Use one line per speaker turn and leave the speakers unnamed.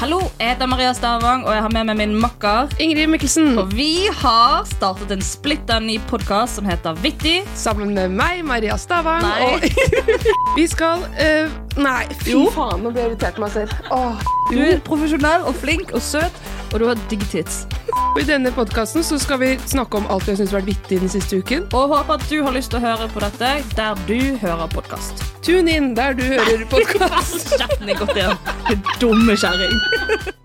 Hallo, jeg heter Maria Stavang, og jeg har med meg min makker.
Ingrid Mikkelsen.
Og vi har startet en splitter ny podkast som heter Vittig.
Sammen med meg, Maria Stavang.
Nei.
Og vi skal eh, Nei, fy faen, nå ble jeg irritert meg selv. Åh.
Du er profesjonell og flink og søt, og du har digg tits.
Og I denne podkasten skal vi snakke om alt vi har syntes har vært vittig den siste uken.
Og håper at du har lyst til å høre på dette der du hører podkast.
Tune inn der du hører podkast.
Kjeften er godt igjen. Dumme kjerring.